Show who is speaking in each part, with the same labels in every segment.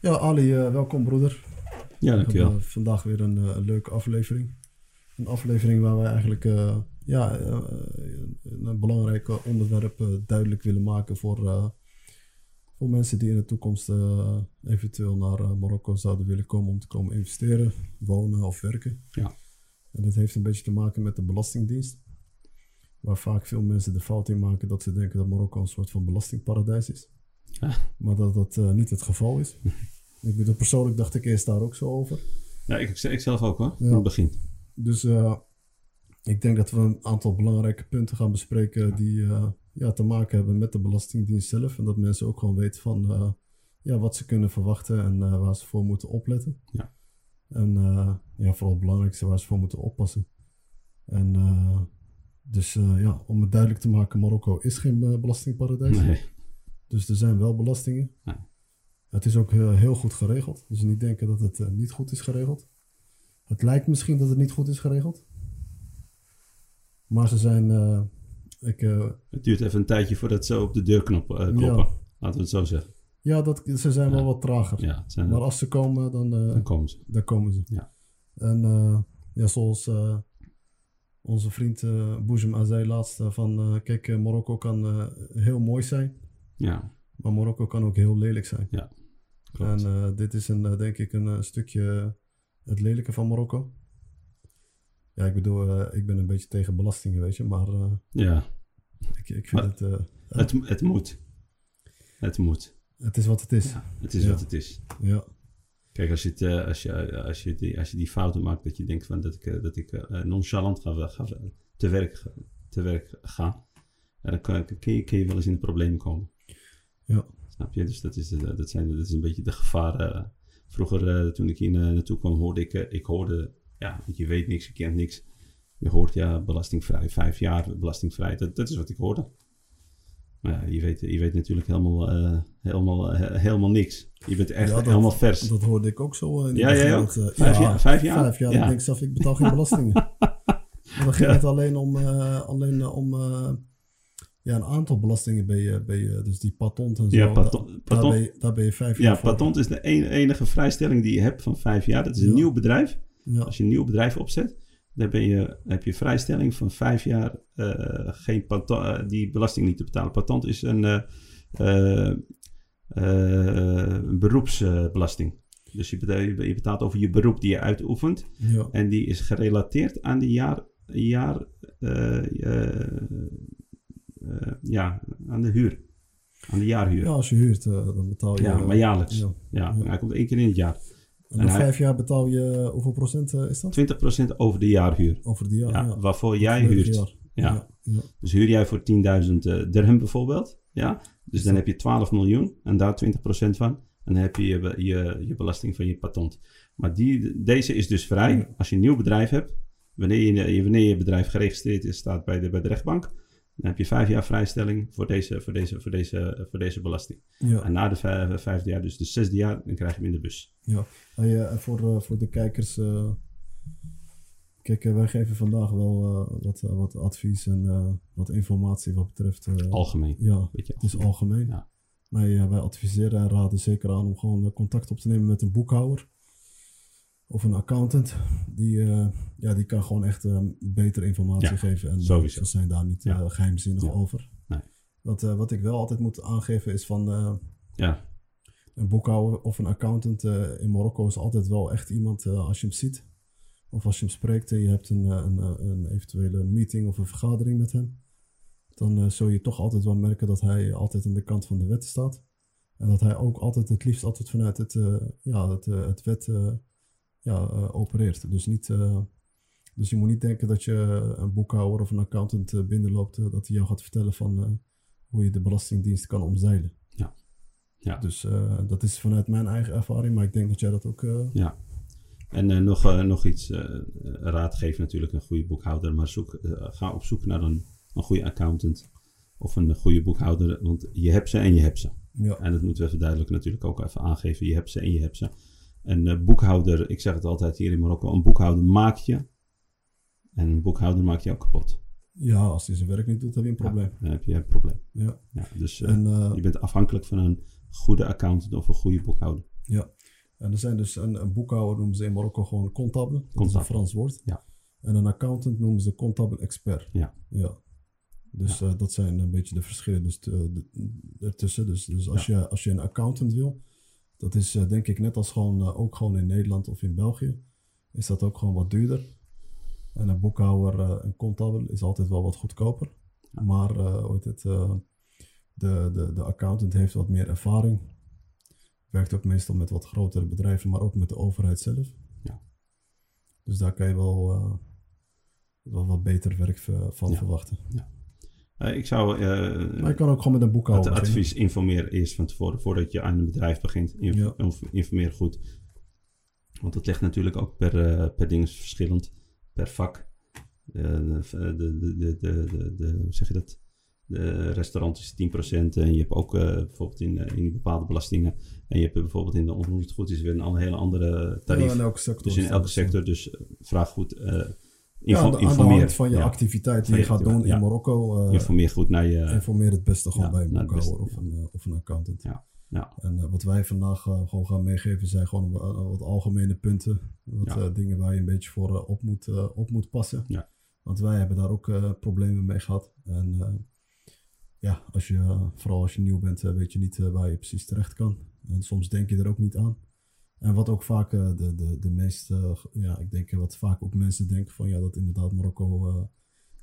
Speaker 1: Ja, Ali, eh, welkom broeder.
Speaker 2: Ja,
Speaker 1: We hebben
Speaker 2: dankjewel.
Speaker 1: eh, vandaag weer een eh, een leuke aflevering. Een aflevering waar wij eigenlijk eh, ja, eh, een- een belangrijk eh, onderwerp eh, duidelijk willen maken voor, eh, voor mensen die in de toekomst eh, eventueel naar eh, Marokko zouden willen komen om te komen investeren, wonen of werken.
Speaker 2: Ja.
Speaker 1: En dat heeft een beetje te maken met de Belastingdienst. Waar vaak veel mensen de fout in maken dat ze denken dat Marokko een soort van belastingparadijs is.
Speaker 2: Ja.
Speaker 1: Maar dat dat eh, niet het geval is. ik bedoel, persoonlijk dacht ik eerst daar ook zo over.
Speaker 2: Ja, ik, ik zelf ook hoor,
Speaker 1: Ja.
Speaker 2: van het begin.
Speaker 1: Dus eh, ik denk dat we een aantal belangrijke punten gaan bespreken die eh, ja, te maken hebben met de Belastingdienst zelf. En dat mensen ook gewoon weten van eh, ja, wat ze kunnen verwachten en eh, waar ze voor moeten opletten.
Speaker 2: Ja.
Speaker 1: En eh, ja, vooral het belangrijkste waar ze voor moeten oppassen. En eh, dus eh, ja, om het duidelijk te maken, Marokko is geen eh, belastingparadijs.
Speaker 2: Nee.
Speaker 1: Dus er zijn wel belastingen.
Speaker 2: Ja.
Speaker 1: Het is ook eh, heel goed geregeld. Dus niet denken dat het eh, niet goed is geregeld. Het lijkt misschien dat het niet goed is geregeld. Maar ze zijn. eh, ik, eh,
Speaker 2: Het duurt even een tijdje voordat ze op de deurknop eh, kloppen.
Speaker 1: Ja.
Speaker 2: Laten we het zo zeggen.
Speaker 1: ja, dat, ze zijn wel
Speaker 2: Ja.
Speaker 1: wat trager.
Speaker 2: Ja, het zijn,
Speaker 1: Maar als ze komen, dan, eh,
Speaker 2: dan komen ze.
Speaker 1: dan komen ze.
Speaker 2: Ja.
Speaker 1: En eh, ja, zoals eh, onze vriend eh Boezem al zei laatst: eh, van eh, kijk, eh, Marokko kan eh, heel mooi zijn,
Speaker 2: Ja,
Speaker 1: maar Marokko kan ook heel lelijk zijn.
Speaker 2: klopt.
Speaker 1: En eh, dit is een, eh, denk ik een eh, stukje het lelijke van Marokko. Ja, ik bedoel, eh, ik ben een beetje tegen belastingen, weet je, maar eh,
Speaker 2: ja,
Speaker 1: ik, ik vind
Speaker 2: Maar-
Speaker 1: het, eh,
Speaker 2: het, het moet. Het moet.
Speaker 1: het is wat het is. Ja.
Speaker 2: Het is
Speaker 1: Ja.
Speaker 2: wat het is. Kijk, als je, het, eh, als, je, eh, als, je die, als je die fouten maakt dat je denkt van dat ik, eh, dat ik eh, nonchalant ga, ga te, werk, ga- te werk ga, eh, dan kan, kun, je, kun je wel eens in de problemen komen.
Speaker 1: Ja.
Speaker 2: Snap je? Dus dat is, de- dat zijn, dat is een beetje de gevaren. eh. Vroeger, eh, toen ik hier na- naartoe kwam, hoorde ik, eh, ik hoorde, ja, want je weet niks, je kent niks. Je hoort, ja, belastingvrij, vijf jaar belastingvrij. Dat, dat is wat ik hoorde. Maar ja, je weet, je weet natuurlijk helemaal, eh, helemaal, eh, helemaal niks. Je bent echt
Speaker 1: Ja, dat-
Speaker 2: helemaal vers.
Speaker 1: Dat hoorde ik ook zo. eh, in het
Speaker 2: Ja,
Speaker 1: begin,
Speaker 2: jij ook?
Speaker 1: dat, eh,
Speaker 2: Vijf
Speaker 1: ja,
Speaker 2: jaar- vijf jaar?
Speaker 1: Vijf jaar.
Speaker 2: Ja.
Speaker 1: Ik denk zelf, ik betaal geen belastingen. En dan ging
Speaker 2: Ja.
Speaker 1: het alleen om, eh, alleen eh, om eh, ja, een aantal belastingen bij je, bij je dus die patent en zo.
Speaker 2: Ja,
Speaker 1: da-
Speaker 2: paton-
Speaker 1: daar,
Speaker 2: paton-
Speaker 1: ben je, daar ben je vijf
Speaker 2: ja,
Speaker 1: jaar voor.
Speaker 2: patent is de en- enige vrijstelling die je hebt van vijf jaar. Dat is een
Speaker 1: Ja.
Speaker 2: nieuw bedrijf.
Speaker 1: Ja,
Speaker 2: Als je een nieuw bedrijf opzet, dan ben je, heb je vrijstelling van vijf jaar eh, geen pato- eh, die belasting niet te betalen. Patent is een eh, eh, eh, een beroepsbelasting. Dus je betaalt, je betaalt over je beroep die je uitoefent.
Speaker 1: ja,
Speaker 2: En die is gerelateerd aan die jaar, jaar eh, eh, eh, ja, aan de huur. Aan de jaarhuur.
Speaker 1: ja,
Speaker 2: Ja,
Speaker 1: als je huurt, eh, dan betaal je...
Speaker 2: maar jaarlijks.
Speaker 1: ja.
Speaker 2: Ja, hij komt één keer in het jaar.
Speaker 1: En
Speaker 2: En
Speaker 1: na
Speaker 2: hij-
Speaker 1: vijf jaar betaal je, hoeveel procent eh, is dat?
Speaker 2: 20% over de jaarhuur.
Speaker 1: Over de jaar.
Speaker 2: Ja,
Speaker 1: Ja,
Speaker 2: Waarvoor jij
Speaker 1: Vorig
Speaker 2: huurt.
Speaker 1: jaar.
Speaker 2: Ja.
Speaker 1: Ja, ja.
Speaker 2: Dus huur jij voor 10.000 eh, dirham bijvoorbeeld. Ja? Dus dan
Speaker 1: Ja.
Speaker 2: heb je 12 miljoen en daar 20% van. En dan heb je je, be- je je belasting van je patent. Maar die, deze is dus vrij
Speaker 1: Ja.
Speaker 2: als je een nieuw bedrijf hebt. Wanneer je, wanneer je bedrijf geregistreerd is, staat bij de, bij de rechtbank. Dan heb je vijf jaar vrijstelling voor deze, voor deze, voor deze, voor deze belasting.
Speaker 1: ja.
Speaker 2: En na de vijf- vijfde jaar, dus de zesde jaar, dan krijg je hem in de bus.
Speaker 1: Hey, eh, en voor, eh, voor de kijkers. eh, kijk, eh, wij geven vandaag wel eh, wat, eh, wat advies en eh, wat informatie wat betreft. eh,
Speaker 2: Algemeen.
Speaker 1: ja,
Speaker 2: Weet je,
Speaker 1: het is algemeen.
Speaker 2: Ja.
Speaker 1: Wij, eh, wij adviseren en raden zeker aan om gewoon eh, contact op te nemen met een boekhouder. Of een accountant. Die, eh, ja, die kan gewoon echt eh, betere informatie
Speaker 2: Ja,
Speaker 1: geven. En eh,
Speaker 2: sowieso.
Speaker 1: ze zijn daar niet
Speaker 2: Ja.
Speaker 1: eh, geheimzinnig
Speaker 2: Ja.
Speaker 1: over.
Speaker 2: Nee.
Speaker 1: Wat, eh, wat ik wel altijd moet aangeven is van... eh,
Speaker 2: Ja,
Speaker 1: een boekhouder of een accountant eh, in Marokko is altijd wel echt iemand eh, als je hem ziet. Of als je hem spreekt en je hebt een, eh, een, eh, een eventuele meeting of een vergadering met hem. Dan eh, zul je toch altijd wel merken dat hij altijd aan de kant van de wet staat. En dat hij ook altijd het liefst altijd vanuit het, eh, ja, het, eh, het wet eh, ja, eh, opereert. Dus, niet, eh, dus je moet niet denken dat je een boekhouder of een accountant eh, binnenloopt. eh, dat hij jou gaat vertellen van eh, hoe je de belastingdienst kan omzeilen.
Speaker 2: ja.
Speaker 1: Dus eh, dat is vanuit mijn eigen ervaring, maar ik denk dat jij dat ook. eh,
Speaker 2: En eh, nog, eh, nog iets, eh, eh, raad geeft natuurlijk een goede boekhouder, maar zoek, eh, ga op zoek naar een, een goede accountant of een goede boekhouder, want je hebt ze en je hebt ze.
Speaker 1: ja,
Speaker 2: En dat moeten we even duidelijk natuurlijk ook even aangeven, je hebt ze en je hebt ze. Een eh, boekhouder, ik zeg het altijd hier in Marokko, een boekhouder maakt je en een boekhouder maakt jou kapot.
Speaker 1: ja, als hij zijn werk niet doet, heb je een probleem.
Speaker 2: Dan heb je een probleem.
Speaker 1: Ja.
Speaker 2: Ja, dus eh,
Speaker 1: En, eh,
Speaker 2: je bent afhankelijk van een goede accountant of een goede boekhouder.
Speaker 1: Ja, en er zijn dus een, een boekhouder noemen ze in Marokko gewoon comptable, dat is een
Speaker 2: Comptable.
Speaker 1: Frans woord.
Speaker 2: Ja.
Speaker 1: En een accountant noemen ze comptable expert.
Speaker 2: Ja.
Speaker 1: ja. Dus eh, dat zijn een beetje de verschillen dus, eh, de- ertussen. Dus, dus als, je, als je een accountant wil, dat is eh, denk ik net als gewoon, eh, ook gewoon in Nederland of in België, is dat ook gewoon wat duurder. En een boekhouder, eh, een comptable is altijd wel wat goedkoper. Maar eh, hoe heet het, eh, de, de, de accountant heeft wat meer ervaring. Werkt ook meestal met wat grotere bedrijven, maar ook met de overheid zelf.
Speaker 2: Ja.
Speaker 1: Dus daar kan je wel, eh, wel wat beter werk ver- van
Speaker 2: Ja.
Speaker 1: verwachten.
Speaker 2: Eh, ik zou eh,
Speaker 1: Maar je kan ook gewoon met een
Speaker 2: het
Speaker 1: boekhouder beginnen.
Speaker 2: advies informeer eerst van tevoren, voordat je aan een bedrijf begint. Inf-
Speaker 1: Ja.
Speaker 2: inf- Informeer goed. Want dat ligt natuurlijk ook per, eh, per ding is verschillend, per vak. Eh, de, de, de, de, de, de- hoe zeg je dat? De restaurant is 10% en je hebt ook eh, bijvoorbeeld in, eh, in bepaalde belastingen. En je hebt bijvoorbeeld in de onroerend goed is weer een al- hele andere tarief.
Speaker 1: Ja, nou, in elke sector.
Speaker 2: dus in elke
Speaker 1: staat het.
Speaker 2: sector, dus eh, vraag goed. eh,
Speaker 1: Ja,
Speaker 2: info-
Speaker 1: aan, de, aan de
Speaker 2: informeer.
Speaker 1: hand van je
Speaker 2: Ja,
Speaker 1: activiteit die
Speaker 2: Van
Speaker 1: je
Speaker 2: je
Speaker 1: gaat doen in
Speaker 2: activiteit, ja.
Speaker 1: Marokko, eh,
Speaker 2: informeer goed naar je.
Speaker 1: informeer het beste gewoon
Speaker 2: Ja,
Speaker 1: bij een
Speaker 2: naar het
Speaker 1: boekhouder of,
Speaker 2: beste,
Speaker 1: een, eh, of een accountant.
Speaker 2: Ja, ja.
Speaker 1: En eh, wat wij vandaag eh, gewoon gaan meegeven zijn gewoon wa- eh, wat algemene punten. Wat
Speaker 2: Ja.
Speaker 1: eh, dingen waar je een beetje voor eh, op, moet, eh, op moet passen.
Speaker 2: Ja.
Speaker 1: Want wij hebben daar ook eh, problemen mee gehad. En eh, ja, als je, eh, vooral als je nieuw bent, eh, weet je niet eh, waar je precies terecht kan. En soms denk je er ook niet aan. En wat ook vaak eh, de, de, de meeste, eh, ja, ik denk eh, wat vaak ook mensen denken van ja, dat inderdaad Marokko, eh,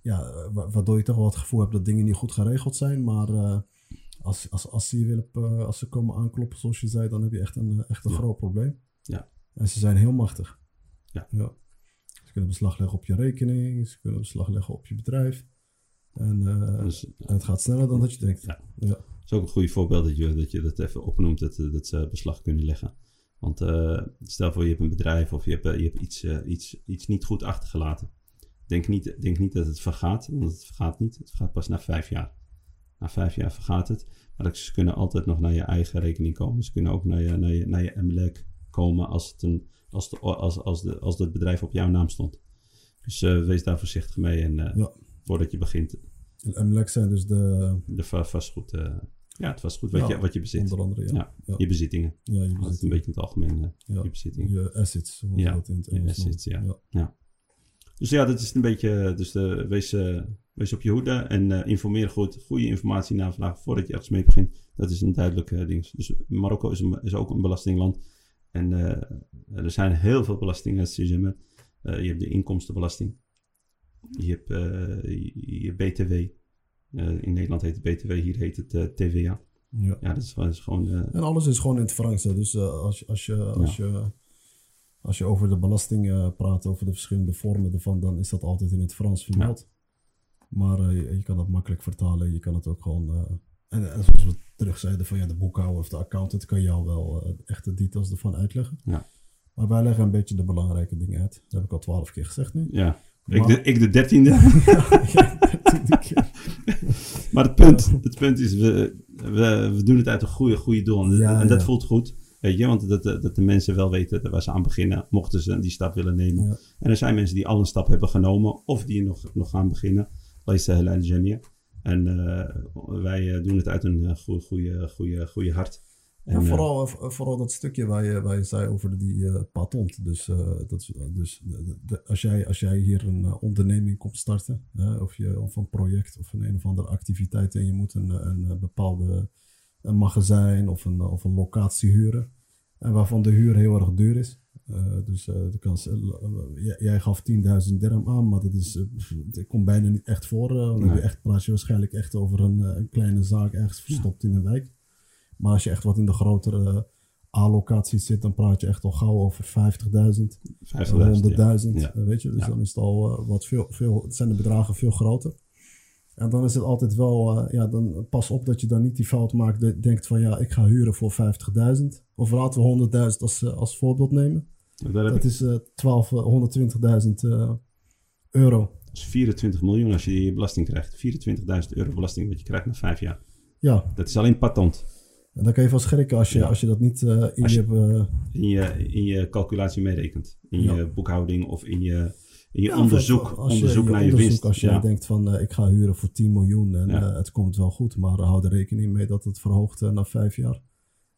Speaker 1: ja, eh, wa- waardoor je toch wel het gevoel hebt dat dingen niet goed geregeld zijn. Maar eh, als, als, als, ze je willen, eh, als ze komen aankloppen, zoals je zei, dan heb je echt een, eh, echt een
Speaker 2: Ja.
Speaker 1: groot probleem.
Speaker 2: Ja.
Speaker 1: En ze zijn heel machtig.
Speaker 2: Ja.
Speaker 1: Ze kunnen beslag leggen op je rekening, ze kunnen beslag leggen op je bedrijf. En, eh,
Speaker 2: Dus,
Speaker 1: en het gaat sneller dan dat je denkt.
Speaker 2: Ja.
Speaker 1: ja.
Speaker 2: Het is ook een goed voorbeeld dat je dat, je dat even opnoemt, dat, eh, dat ze beslag kunnen leggen. Want eh, stel voor je hebt een bedrijf of je hebt, eh, je hebt iets, eh, iets, iets niet goed achtergelaten. Denk niet, denk niet dat het vergaat, want het vergaat niet. Het vergaat pas na vijf jaar. Na vijf jaar vergaat het. Maar ze kunnen altijd nog naar je eigen rekening komen. Ze kunnen ook naar je, naar je, naar je MLEC komen als het, een, als, de, als, als, de, als het bedrijf op jouw naam stond. Dus eh, wees daar voorzichtig mee. En eh,
Speaker 1: Ja.
Speaker 2: voordat je begint,
Speaker 1: En MLEC zijn dus de,
Speaker 2: de va- vastgoed, eh, ja, het vastgoed wat,
Speaker 1: Ja,
Speaker 2: je, wat je bezit.
Speaker 1: onder andere, ja.
Speaker 2: Ja.
Speaker 1: Ja.
Speaker 2: Je bezittingen.
Speaker 1: Ja, je,
Speaker 2: Dat is
Speaker 1: bezit,
Speaker 2: een beetje in het algemeen. eh,
Speaker 1: Ja.
Speaker 2: Je bezittingen.
Speaker 1: je assets, hoe ze
Speaker 2: Ja,
Speaker 1: dat in het
Speaker 2: je
Speaker 1: Engels noemen.
Speaker 2: assets, ja. Dus ja, dat is een beetje. Dus eh, wees, eh, wees op je hoede en eh, informeer goed. Goede informatie navragen voordat je ergens mee begint. Dat is een duidelijk eh, ding. Dus Marokko is, een, is ook een belastingland. En eh, er zijn heel veel belastingen. zoals je zegt. Eh, je hebt de inkomstenbelasting. Je hebt eh, je, je BTW. Eh, in Nederland heet het BTW, hier heet het eh, TVA.
Speaker 1: Ja.
Speaker 2: Ja, dat is, dat is gewoon. eh,
Speaker 1: En alles is gewoon in het Frans. hè. Dus eh, als, als, je, als, je, als je over de belasting eh, praat, over de verschillende vormen ervan, dan is dat altijd in het Frans vermeld. Maar eh, je, je kan dat makkelijk vertalen. Je kan het ook gewoon. eh, en, en zoals we terug zeiden, van ja, de boekhouder of de accountant kan jou wel eh, echt de details ervan uitleggen.
Speaker 2: Ja.
Speaker 1: Maar wij leggen een beetje de belangrijke dingen uit. Dat heb ik al twaalf keer gezegd nu.
Speaker 2: ja.
Speaker 1: Maar-
Speaker 2: Ik, de, ik de dertiende. Maar het punt, het punt is, we, we, we doen het uit een goede, goede doel. En,
Speaker 1: Ja,
Speaker 2: en dat
Speaker 1: ja.
Speaker 2: voelt goed. Weet je, want dat, dat de mensen wel weten waar ze aan beginnen, mochten ze die stap willen nemen.
Speaker 1: Ja.
Speaker 2: En er zijn mensen die al een stap hebben genomen of die nog, nog gaan beginnen. Lees de hele Jamia. En eh, wij eh, doen het uit een eh, goe- goede, goede, goede hart. En,
Speaker 1: En,
Speaker 2: eh,
Speaker 1: vooral, eh, vooral dat stukje waar je, waar je zei over die eh patent. Dus, eh, dat, is- dus de- de- als, jij, als jij hier een eh, onderneming komt starten, hè, of, je, of een project of een, een of andere activiteit en je moet een, eh, een eh, bepaalde een magazijn of een, of een locatie huren. En waarvan de huur heel erg duur is. Eh, dus eh, de kans, eh, l- eh, jij- jij gaf 10.000 dirham aan, maar dat, is, eh, pff, dat komt bijna niet echt voor. eh, want dan heb je
Speaker 2: Nee.
Speaker 1: echt, praat je waarschijnlijk echt over een, eh, een kleine zaak ergens verstopt in een wijk. Maar als je echt wat in de grotere allocaties zit, dan praat je echt al gauw over 50.000, 100.000.
Speaker 2: 50.000, ja. Ja.
Speaker 1: eh, Weet je, dus
Speaker 2: Ja.
Speaker 1: dan is het al eh, wat veel, veel, zijn de bedragen veel groter. En dan is het altijd wel, eh, ja, dan pas op dat je dan niet die fout maakt. de- denkt van ja, ik ga huren voor 50.000. Of laten we 100.000 als, eh, als voorbeeld nemen.
Speaker 2: Daar heb
Speaker 1: Dat is eh 12, eh, 120.000 eh, euro.
Speaker 2: ik- dat is 24 miljoen als je je belasting krijgt. 24.000 euro belasting wat je krijgt na vijf jaar.
Speaker 1: Ja,
Speaker 2: Dat is alleen patent.
Speaker 1: en daar kan je van schrikken als je,
Speaker 2: Ja.
Speaker 1: als je dat niet eh, in
Speaker 2: Als
Speaker 1: je...
Speaker 2: je-
Speaker 1: eh,
Speaker 2: in je, in je calculatie meerekent. In
Speaker 1: Ja.
Speaker 2: je boekhouding of in je, in je
Speaker 1: Ja,
Speaker 2: onderzoek,
Speaker 1: of als je-
Speaker 2: onderzoek naar je
Speaker 1: onderzoek,
Speaker 2: winst.
Speaker 1: Als jij
Speaker 2: ja.
Speaker 1: denkt van eh, ik ga huren voor 10 miljoen en
Speaker 2: Ja.
Speaker 1: eh, het komt wel goed, maar hou er rekening mee dat het verhoogt eh, na vijf jaar.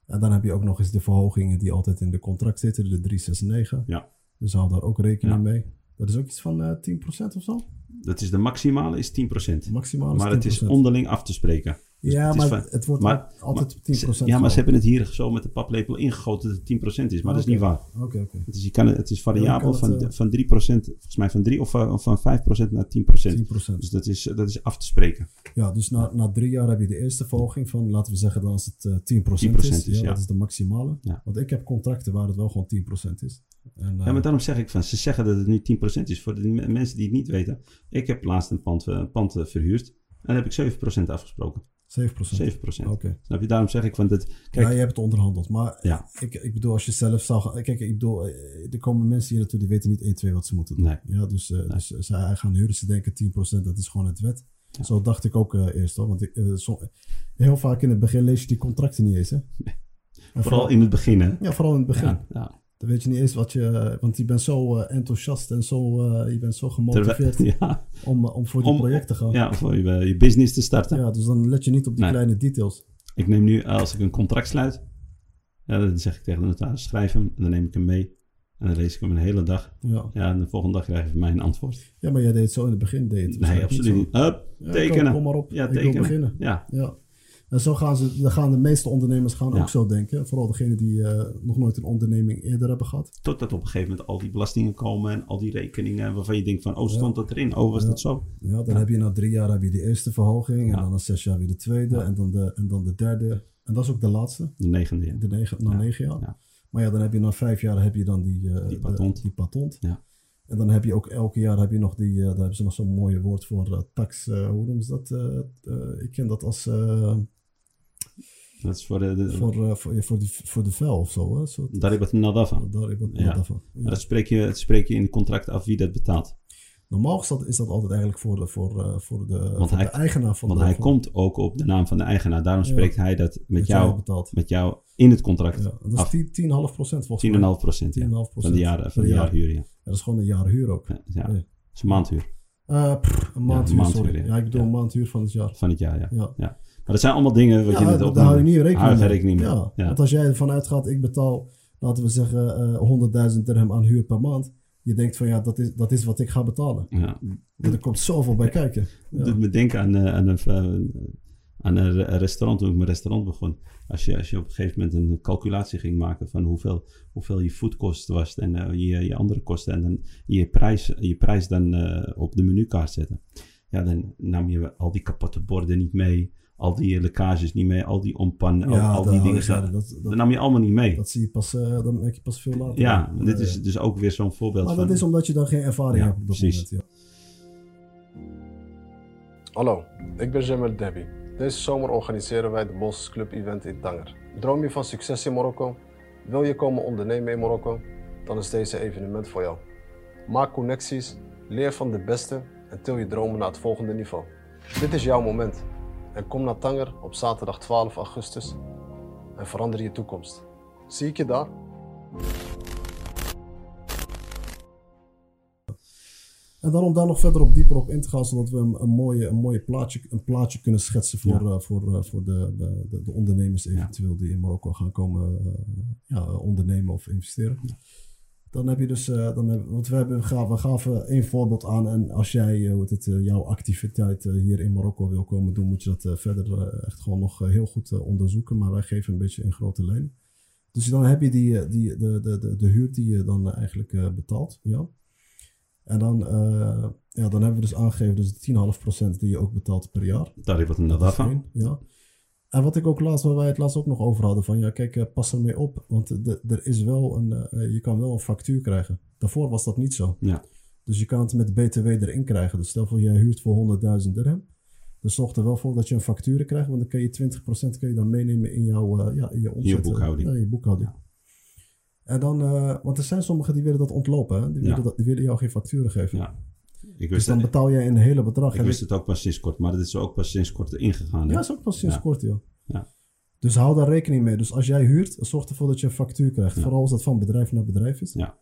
Speaker 1: En dan heb je ook nog eens de verhogingen die altijd in de contract zitten, de 369.
Speaker 2: Ja.
Speaker 1: Dus hou daar ook rekening
Speaker 2: Ja.
Speaker 1: mee. Dat is ook iets van eh 10% of zo?
Speaker 2: Dat is de maximale is 10%.
Speaker 1: Maximaal is
Speaker 2: Maar het
Speaker 1: 10%.
Speaker 2: is onderling af te spreken. Dus
Speaker 1: ja,
Speaker 2: het is
Speaker 1: maar
Speaker 2: van-
Speaker 1: het wordt
Speaker 2: maar-
Speaker 1: altijd 10%
Speaker 2: Ja, maar
Speaker 1: gehouden.
Speaker 2: ze hebben het hier zo met de paplepel ingegoten dat het 10% is. Maar dat is niet
Speaker 1: Oké.
Speaker 2: waar.
Speaker 1: Oké, oké.
Speaker 2: Het is, je kan, het- het is
Speaker 1: Ja,
Speaker 2: variabel
Speaker 1: dan kan het,
Speaker 2: van,
Speaker 1: eh,
Speaker 2: van 3%, volgens mij van 3 of van, van 5% naar 10%.
Speaker 1: 10%.
Speaker 2: Dus dat is, dat is af te spreken.
Speaker 1: Ja, dus na, na drie jaar heb je de eerste verhoging van, laten we zeggen dan als het eh, 10%, is.
Speaker 2: 10% is,
Speaker 1: ja,
Speaker 2: ja.
Speaker 1: Dat is de maximale.
Speaker 2: Ja.
Speaker 1: Want ik heb contracten waar het wel gewoon 10% is. En, eh,
Speaker 2: Ja, maar daarom zeg ik van, ze zeggen dat het nu 10% is. Voor de m- mensen die het niet weten. Ik heb laatst een pand, eh, een pand eh, verhuurd. En daar heb ik 7% afgesproken.
Speaker 1: 7%.
Speaker 2: 7%.
Speaker 1: Oké.
Speaker 2: Snap je? Daarom zeg ik van, dat, kijk,
Speaker 1: Ja, je hebt het onderhandeld. Maar
Speaker 2: Ja.
Speaker 1: ik, ik bedoel, als je zelf zou gaan... Kijk, ik bedoel, eh, er komen mensen hier naartoe die weten niet 1, 2 wat ze moeten doen.
Speaker 2: Nee.
Speaker 1: Ja, dus, eh, dus zij gaan huren. Ze denken 10%, dat is gewoon het wet. Zo dacht ik ook eh, eerst hoor. Want ik, eh, som- heel vaak in het begin lees je die contracten niet eens. Hè? En
Speaker 2: vooral in het begin hè.
Speaker 1: Ja, vooral in het begin.
Speaker 2: Ja, ja.
Speaker 1: Dan weet je niet eens wat je. Want je bent zo eh, enthousiast en zo, eh, je bent zo gemotiveerd
Speaker 2: Terwijl- ja,
Speaker 1: om, eh, om voor die
Speaker 2: Om-
Speaker 1: project te gaan. Ja.
Speaker 2: ja, voor je, eh, je business te starten.
Speaker 1: dus dan let je niet op die
Speaker 2: Nee.
Speaker 1: kleine details.
Speaker 2: Ik neem nu, eh, als ik een contract sluit, ja, dan zeg ik tegen de notaris, schrijf hem. En dan neem ik hem mee. En dan lees ik hem een hele dag.
Speaker 1: Ja.
Speaker 2: Ja, en de volgende dag krijg je van mij een antwoord.
Speaker 1: ja, maar jij deed het zo in het begin. Deed je het
Speaker 2: nee,
Speaker 1: waarschijnlijk
Speaker 2: absoluut
Speaker 1: niet
Speaker 2: niet. Hup,
Speaker 1: zo. Ja, kom-
Speaker 2: tekenen.
Speaker 1: Kom maar op,
Speaker 2: Ja,
Speaker 1: ik wil
Speaker 2: tekenen.
Speaker 1: beginnen.
Speaker 2: ja,
Speaker 1: Ja. En zo gaan, ze, dan gaan de meeste ondernemers gaan
Speaker 2: Ja.
Speaker 1: ook zo denken. Vooral degenen die eh, nog nooit een onderneming eerder hebben gehad.
Speaker 2: totdat op een gegeven moment al die belastingen komen en al die rekeningen waarvan je denkt van, oh, stond dat erin? Oh, was
Speaker 1: Ja.
Speaker 2: dat zo?
Speaker 1: Ja, dan heb je na drie jaar heb je de eerste verhoging. En
Speaker 2: Ja.
Speaker 1: dan na zes jaar weer de tweede. En, dan de, en dan de derde. En dat is ook de laatste.
Speaker 2: De negende, ja.
Speaker 1: de negen, na
Speaker 2: Ja,
Speaker 1: negen jaar.
Speaker 2: ja.
Speaker 1: Maar ja, dan heb je na vijf jaar heb je dan die, eh,
Speaker 2: Die
Speaker 1: de-
Speaker 2: patent.
Speaker 1: die patent.
Speaker 2: Ja.
Speaker 1: En dan heb je ook elke jaar heb je nog die, eh, daar hebben ze nog zo'n mooie woord voor, eh, tax, eh, hoe noemen ze dat? Eh, eh, ik ken dat als eh,
Speaker 2: Dat is voor de... de
Speaker 1: voor, eh, voor, ja, voor, die, voor de vel of zo. Hè? Zo,
Speaker 2: daar heb ik het nadafa.
Speaker 1: daar, ik wat
Speaker 2: Ja.
Speaker 1: wat daarvan. Ja.
Speaker 2: Maar dat spreek, je, dat spreek je in het contract af wie dat betaalt.
Speaker 1: Normaal is dat, is dat altijd eigenlijk voor de, voor, eh, voor de, voor
Speaker 2: hij-
Speaker 1: de eigenaar van
Speaker 2: Want
Speaker 1: de
Speaker 2: hij
Speaker 1: van-
Speaker 2: komt ook op de naam van de eigenaar. Daarom spreekt hij dat met
Speaker 1: dat jij
Speaker 2: jou,
Speaker 1: betaalt.
Speaker 2: met jou in het contract.
Speaker 1: Ja, dat is
Speaker 2: af.
Speaker 1: 10 10,5 procent volgens mij.
Speaker 2: 10,5 procent, ja.
Speaker 1: 10,5
Speaker 2: Van de jaren, van de
Speaker 1: per jaar.
Speaker 2: jaarhuur, ja.
Speaker 1: Ja, dat is gewoon een jaar huur ook.
Speaker 2: Ja, ja.
Speaker 1: Nee.
Speaker 2: Dat is een maandhuur
Speaker 1: Eh, pff, een maandhuur,
Speaker 2: maandhuur,
Speaker 1: sorry.
Speaker 2: ja.
Speaker 1: Ja, ik bedoel
Speaker 2: Ja.
Speaker 1: een maandhuur van het jaar.
Speaker 2: van het jaar, ja.
Speaker 1: Ja.
Speaker 2: Maar dat zijn allemaal dingen wat
Speaker 1: Ja,
Speaker 2: je net
Speaker 1: daar
Speaker 2: opnoemt.
Speaker 1: hou je niet rekening
Speaker 2: Hou je
Speaker 1: mee.
Speaker 2: geen rekening mee.
Speaker 1: Ja,
Speaker 2: Ja.
Speaker 1: Want als jij ervan uitgaat, ik betaal, laten we zeggen, eh 100.000 dirham aan huur per maand. Je denkt van ja, dat is, dat is wat ik ga betalen.
Speaker 2: Ja.
Speaker 1: Want er komt zoveel bij kijken.
Speaker 2: Het
Speaker 1: Ja,
Speaker 2: doet me denken aan, eh, aan, een, eh, aan een re- een restaurant toen ik mijn restaurant begon. Als je, als je op een gegeven moment een calculatie ging maken van hoeveel, hoeveel je foodkost was en eh, je, je andere kosten en dan je prijs, je prijs dan eh, op de menukaart zetten. Ja, dan nam je al die kapotte borden niet mee, al die lekkages niet mee, al die ompan, al,
Speaker 1: Ja, daar
Speaker 2: al
Speaker 1: hou
Speaker 2: die dingen.
Speaker 1: je geen-
Speaker 2: Dat,
Speaker 1: dat, dat,
Speaker 2: nam je allemaal niet mee.
Speaker 1: dat zie je pas, eh, dat merk je pas veel later.
Speaker 2: Ja,
Speaker 1: Eh,
Speaker 2: dit is dus ook weer zo'n voorbeeld
Speaker 1: Maar
Speaker 2: van...
Speaker 1: dat is omdat je dan geen ervaring
Speaker 2: Ja,
Speaker 1: hebt op dat
Speaker 2: precies.
Speaker 1: moment. Ja.
Speaker 3: Hallo, ik ben Jamal Debi. Deze zomer organiseren wij de Bos Club Event in Tanger. Droom je van succes in Marokko? Wil je komen ondernemen in Marokko? Dan is deze evenement voor jou. Maak connecties, leer van de beste en til je dromen naar het volgende niveau. Dit is jouw moment. En kom naar Tanger op zaterdag 12 augustus en verander je toekomst. Zie ik je daar?
Speaker 1: En dan om daar nog verder op dieper op in te gaan, zodat we een, een mooie, een mooie plaatje, een plaatje kunnen schetsen voor, eh, voor, eh, voor de, de, de- de ondernemers eventueel die in Marokko gaan komen eh, ja, ondernemen of investeren. Dan heb je dus, eh, dan hebben, want we, hebben, we gaven, we gaven één voorbeeld aan en als jij eh, hoe heet het, eh, jouw activiteit eh, hier in Marokko wil komen doen, moet je dat eh, verder eh, echt gewoon nog eh, heel goed eh, onderzoeken, maar wij geven een beetje in grote lijnen. Dus dan heb je die, eh, die, de, de, de, de huur die je dan eh, eigenlijk eh, betaalt, ja. En dan, eh, ja, dan hebben we dus aangegeven dus de 10,5% die je ook betaalt per jaar.
Speaker 2: Daar heeft wat een
Speaker 1: Dat is
Speaker 2: nadafa.
Speaker 1: één, Ja. En wat ik ook laatst, waar wij het laatst ook nog over hadden, van ja, kijk, eh, pas ermee op, want de- er is wel een, eh, je kan wel een factuur krijgen. Daarvoor was dat niet zo.
Speaker 2: Ja.
Speaker 1: Dus je kan het met BTW erin krijgen. Dus stel voor, jij huurt voor 100.000 dirham. Dus zorg er wel voor dat je een factuur krijgt, want dan kan je 20% kun je dan meenemen in jouw eh, ja, in je omzet. eh,
Speaker 2: boekhouding.
Speaker 1: Ja, in je boekhouding. En dan, eh, want er zijn sommigen die willen dat ontlopen, hè? Die,
Speaker 2: Ja.
Speaker 1: willen dat, die willen jou geen facturen geven.
Speaker 2: Ja. Ik
Speaker 1: Dus
Speaker 2: wist,
Speaker 1: dan
Speaker 2: het,
Speaker 1: betaal jij een hele bedrag.
Speaker 2: ik
Speaker 1: En
Speaker 2: wist het ook pas sinds kort, maar dat is ook pas sinds kort ingegaan. hè?
Speaker 1: Ja, is ook pas sinds
Speaker 2: Ja.
Speaker 1: kort, joh.
Speaker 2: Ja.
Speaker 1: Dus hou daar rekening mee. Dus als jij huurt, zorg ervoor dat je een factuur krijgt. Vooral als dat van bedrijf naar bedrijf is.
Speaker 2: Ja.
Speaker 1: En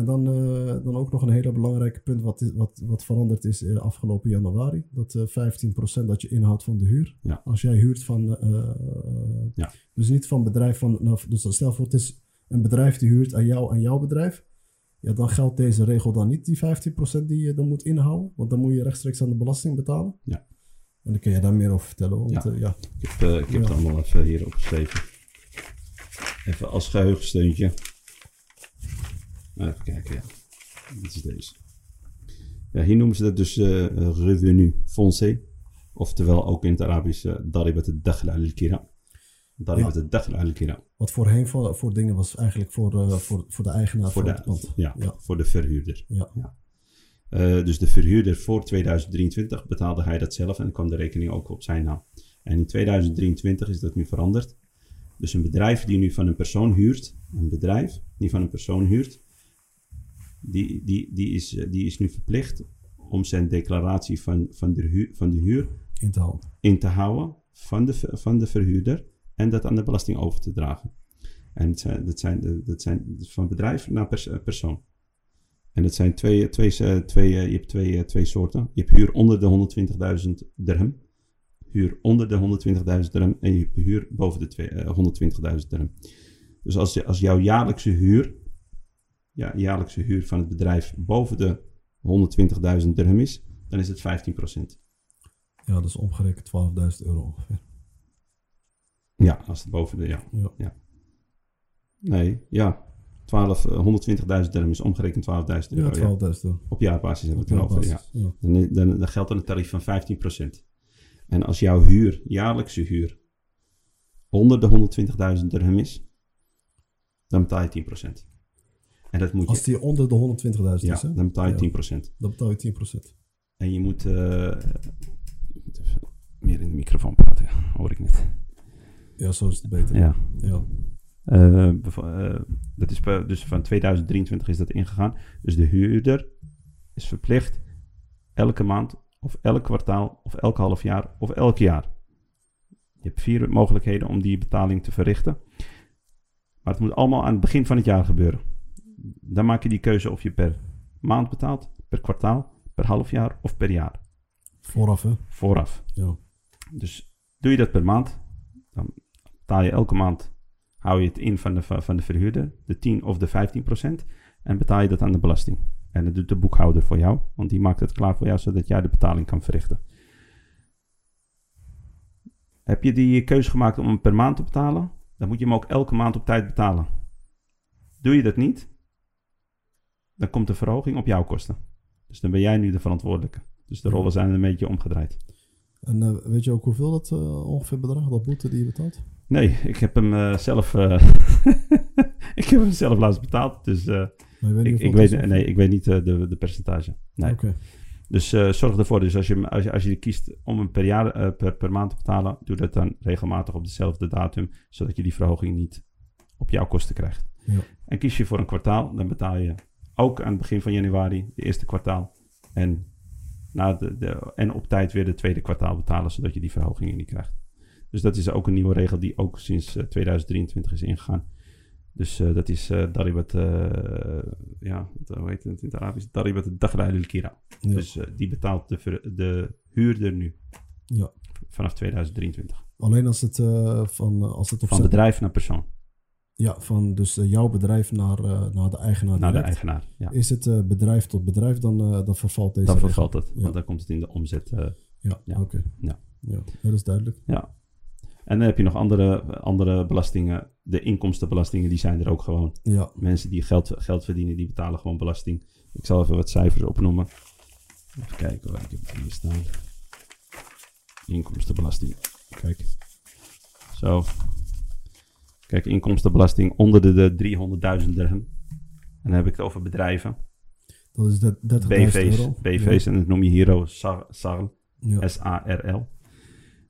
Speaker 1: En dan, eh, dan ook nog een hele belangrijke punt wat, wat, wat veranderd is eh, afgelopen januari. Dat eh 15% dat je inhoudt van de huur.
Speaker 2: Ja.
Speaker 1: Als jij huurt van... eh, eh,
Speaker 2: Ja.
Speaker 1: Dus niet van bedrijf van... Nou, dus stel voor het is een bedrijf die huurt aan jou en jouw bedrijf. Ja, dan geldt deze regel dan niet, die 15% die je dan moet inhouden. Want dan moet je rechtstreeks aan de belasting betalen.
Speaker 2: Ja.
Speaker 1: En dan kun je daar meer over vertellen. Want,
Speaker 2: Ja.
Speaker 1: eh, ja.
Speaker 2: Ik heb, eh, ik heb het
Speaker 1: Ja.
Speaker 2: allemaal even hier opgeschreven. Even als geheugensteuntje. Even kijken, ja. Dit is deze. Ja, hier noemen ze dat dus eh revenu foncé. Oftewel ook in het Arabisch eh, daribat al-dakhla al-kira. Daribat
Speaker 1: Ja.
Speaker 2: al-dakhla al-kira.
Speaker 1: Wat voorheen voor, voor dingen was eigenlijk voor, eh, voor, voor de eigenaar
Speaker 2: Voor
Speaker 1: van het
Speaker 2: de,
Speaker 1: pand.
Speaker 2: ja,
Speaker 1: Ja.
Speaker 2: voor de verhuurder.
Speaker 1: Ja.
Speaker 2: Eh, dus de verhuurder voor 2023 betaalde hij dat zelf en kwam de rekening ook op zijn naam. En in 2023 is dat nu veranderd. Dus een bedrijf die nu van een persoon huurt, een bedrijf die van een persoon huurt, die, die, die, is, eh, die is nu verplicht om zijn declaratie van, van, de, huur, van de huur
Speaker 1: in te houden.
Speaker 2: in te houden van de, ver- van de verhuurder en dat aan de belasting over te dragen. En dat zijn, dat zijn, dat zijn van bedrijf naar pers- eh, persoon. En dat zijn twee, twee, eh, twee, eh, je hebt twee, eh, twee soorten. Je hebt huur onder de 120.000 dirham. Huur onder de 120.000 dirham en je hebt huur boven de twee- eh, 120.000 dirham. Dus als, je- als jouw jaarlijkse huur, ja, jaarlijkse huur van het bedrijf boven de 120.000 dirham is, dan is het 15%.
Speaker 1: Ja, dus omgerekend 12.000 euro ongeveer.
Speaker 2: Ja, als het boven de, ja.
Speaker 1: Ja.
Speaker 2: Nee, ja. 12, eh, 120.000 dirham is omgerekend 12.000 euro.
Speaker 1: Ja,
Speaker 2: Ja,
Speaker 1: 12.000 euro.
Speaker 2: Op jaarbasis hebben we het
Speaker 1: Ja,
Speaker 2: erover. Ja.
Speaker 1: basis. Ja.
Speaker 2: Dan, dan, dan geldt er een tarief van 15%. En als jouw huur, jaarlijkse huur, onder de 120.000 dirham is, dan betaal je 10%. En dat moet je.
Speaker 1: Als die onder de 120.000
Speaker 2: ja,
Speaker 1: is, hè,
Speaker 2: dan betaal je
Speaker 1: Ja.
Speaker 2: 10%.
Speaker 1: dan betaal je 10%.
Speaker 2: En je moet. eh, ik moet even meer in de microfoon praten, hoor ik niet.
Speaker 1: Ja, zo is het beter.
Speaker 2: Ja.
Speaker 1: Ja.
Speaker 2: Eh, bev- eh, dat is per- dus van 2023 is dat ingegaan. Dus de huurder is verplicht elke maand of elk kwartaal of elk half jaar of elk jaar. Je hebt vier mogelijkheden om die betaling te verrichten. Maar het moet allemaal aan het begin van het jaar gebeuren. Dan maak je die keuze of je per maand betaalt, per kwartaal, per half jaar of per jaar.
Speaker 1: Vooraf, hè?
Speaker 2: Vooraf.
Speaker 1: Ja.
Speaker 2: Dus doe je dat per maand, dan betaal je elke maand, hou je het in van de, van de verhuurder, de 10 of de 15 procent, en betaal je dat aan de belasting. En dat doet de boekhouder voor jou, want die maakt het klaar voor jou, zodat jij de betaling kan verrichten. Heb je die keuze gemaakt om hem per maand te betalen, dan moet je hem ook elke maand op tijd betalen. Doe je dat niet, dan komt de verhoging op jouw kosten. Dus dan ben jij nu de verantwoordelijke. Dus de rollen zijn een beetje omgedraaid.
Speaker 1: En eh, weet je ook hoeveel dat eh, ongeveer bedraagt, dat boete die je betaalt?
Speaker 2: Nee, ik heb hem eh, zelf. eh, ik heb hem zelf laatst betaald. Dus eh,
Speaker 1: Maar je weet
Speaker 2: ik,
Speaker 1: niet
Speaker 2: ik,
Speaker 1: hoeveel het
Speaker 2: weet,
Speaker 1: is,
Speaker 2: nee, ik weet niet eh, de, de percentage.
Speaker 1: of-
Speaker 2: Nee.
Speaker 1: Oké.
Speaker 2: Dus eh, zorg ervoor. Dus als je, hem- als, je, als je kiest om hem per, jaar, eh, per, per maand te betalen, doe dat dan regelmatig op dezelfde datum. Zodat je die verhoging niet op jouw kosten krijgt.
Speaker 1: Ja.
Speaker 2: En kies je voor een kwartaal, dan betaal je ook aan het begin van januari, de eerste kwartaal. En, na de, de, en op tijd weer de tweede kwartaal betalen, zodat je die verhogingen niet krijgt. Dus dat is ook een nieuwe regel die ook sinds eh, 2023 is ingegaan. Dus eh, dat is eh Daribat, eh, ja, wat- hoe heet het in het Arabisch? Daribat Dagra al-Kira.
Speaker 1: Ja.
Speaker 2: Dus eh, die betaalt de, ver- de huurder nu.
Speaker 1: Ja.
Speaker 2: Vanaf 2023.
Speaker 1: Alleen als het eh, van, eh, als het op
Speaker 2: Van
Speaker 1: zijn-
Speaker 2: bedrijf naar persoon,
Speaker 1: Ja, van dus eh, jouw bedrijf naar, eh, naar de eigenaar.
Speaker 2: naar de
Speaker 1: direct.
Speaker 2: eigenaar. Ja.
Speaker 1: Is het eh, bedrijf tot bedrijf, dan, eh, dan vervalt deze.
Speaker 2: Dan
Speaker 1: regel.
Speaker 2: vervalt het,
Speaker 1: Ja.
Speaker 2: want dan komt het in de omzet. eh,
Speaker 1: Ja,
Speaker 2: Ja.
Speaker 1: oké.
Speaker 2: Ja.
Speaker 1: ja, dat is duidelijk.
Speaker 2: Ja. En dan heb je nog andere, andere belastingen. De inkomstenbelastingen, die zijn er ook gewoon.
Speaker 1: Ja,
Speaker 2: Mensen die geld, geld verdienen, die betalen gewoon belasting. Ik zal even wat cijfers opnoemen. Even kijken hoor, ik heb het hier staan. Inkomstenbelasting. Kijk. Zo. Kijk, inkomstenbelasting onder de, de 300.000 dirham. En dan heb ik het over bedrijven.
Speaker 1: dat is de- 30.000
Speaker 2: BV's.
Speaker 1: euro.
Speaker 2: BV's, en dat noem je hier ook sar, sarl.
Speaker 1: Ja, ja.
Speaker 2: S-A-R-L.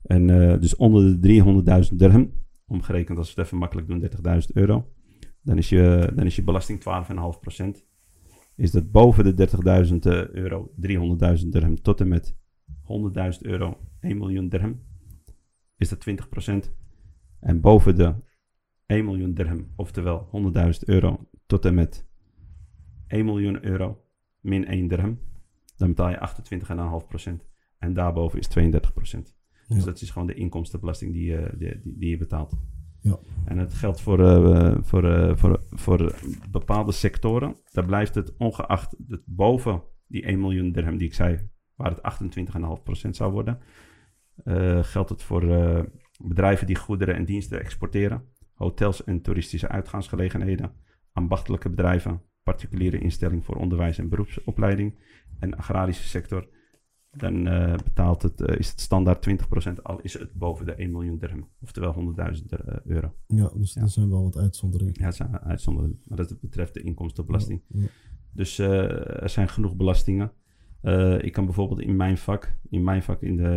Speaker 2: En eh, dus onder de 300.000 dirham, omgerekend als we het even makkelijk doen, 30.000 euro. Dan is je, dan is je belasting 12,5%. Is dat boven de 30.000 eh, euro, 300.000 dirham, tot en met 100.000 euro, 1 miljoen dirham, is dat 20%. En boven de 1 miljoen dirham, oftewel 100.000 euro, tot en met 1 miljoen euro min 1 dirham, dan betaal je 28,5%. En daarboven is 32%. Dus
Speaker 1: Ja.
Speaker 2: dat is gewoon de inkomstenbelasting die je, die, die, die je betaalt.
Speaker 1: Ja.
Speaker 2: En dat geldt voor, eh, voor, eh, voor, voor bepaalde sectoren. Daar blijft het ongeacht het boven die 1 miljoen dirham die ik zei, waar het 28,5% zou worden, eh, geldt het voor eh, bedrijven die goederen en diensten exporteren, hotels en toeristische uitgaansgelegenheden, ambachtelijke bedrijven, particuliere instelling voor onderwijs en beroepsopleiding en agrarische sector. Dan eh, betaalt het, eh, is het standaard 20%, al is het boven de 1 miljoen dirham, oftewel 100.000 dir- euro.
Speaker 1: Ja, dus
Speaker 2: Ja.
Speaker 1: er zijn wel wat uitzonderingen.
Speaker 2: Ja, het zijn uitzonderingen, maar dat betreft de inkomstenbelasting.
Speaker 1: Ja, ja.
Speaker 2: Dus eh, er zijn genoeg belastingen. Eh, ik kan bijvoorbeeld in mijn vak, in mijn vak in de,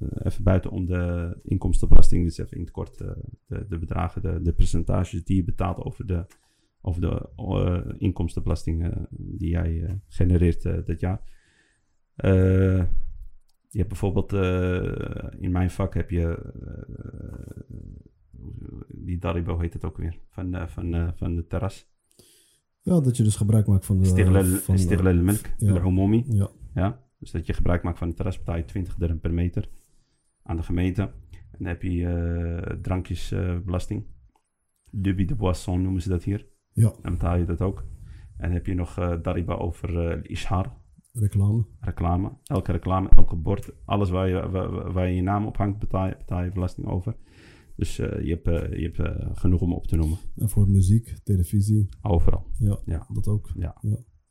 Speaker 2: eh, even buiten om de inkomstenbelasting, dus even in het kort eh, de, de bedragen, de, de percentages die je betaalt over de, over de eh, inkomstenbelasting eh, die jij eh, genereert eh, dit jaar. Eh, je hebt bijvoorbeeld eh, in mijn vak heb je eh, hoe- die Daribo heet het ook weer van, eh, van, eh, van de terras.
Speaker 1: Ja, dat je dus gebruik maakt van de...
Speaker 2: استغلال
Speaker 1: van de-
Speaker 2: استغلال الملك
Speaker 1: ja.
Speaker 2: العمومي
Speaker 1: Ja,
Speaker 2: Ja? Dus dat je gebruik maakt van het terras, betaal je 20 dirham per meter aan de gemeente. En dan heb je eh, drankjesbelasting. Dubi de Boisson noemen ze dat hier.
Speaker 1: Ja.
Speaker 2: Dan betaal je dat ook. En dan heb je nog eh, Dariba over eh Ishar,
Speaker 1: reclame.
Speaker 2: reclame. Elke reclame, elke bord, alles waar je, waar, waar- waar je je naam op hangt, betaal je, betaal je belasting over. Dus eh, je hebt, eh, je hebt eh, genoeg om op te noemen.
Speaker 1: En voor muziek, televisie,
Speaker 2: Overal.
Speaker 1: ja,
Speaker 2: Ja.
Speaker 1: dat ook.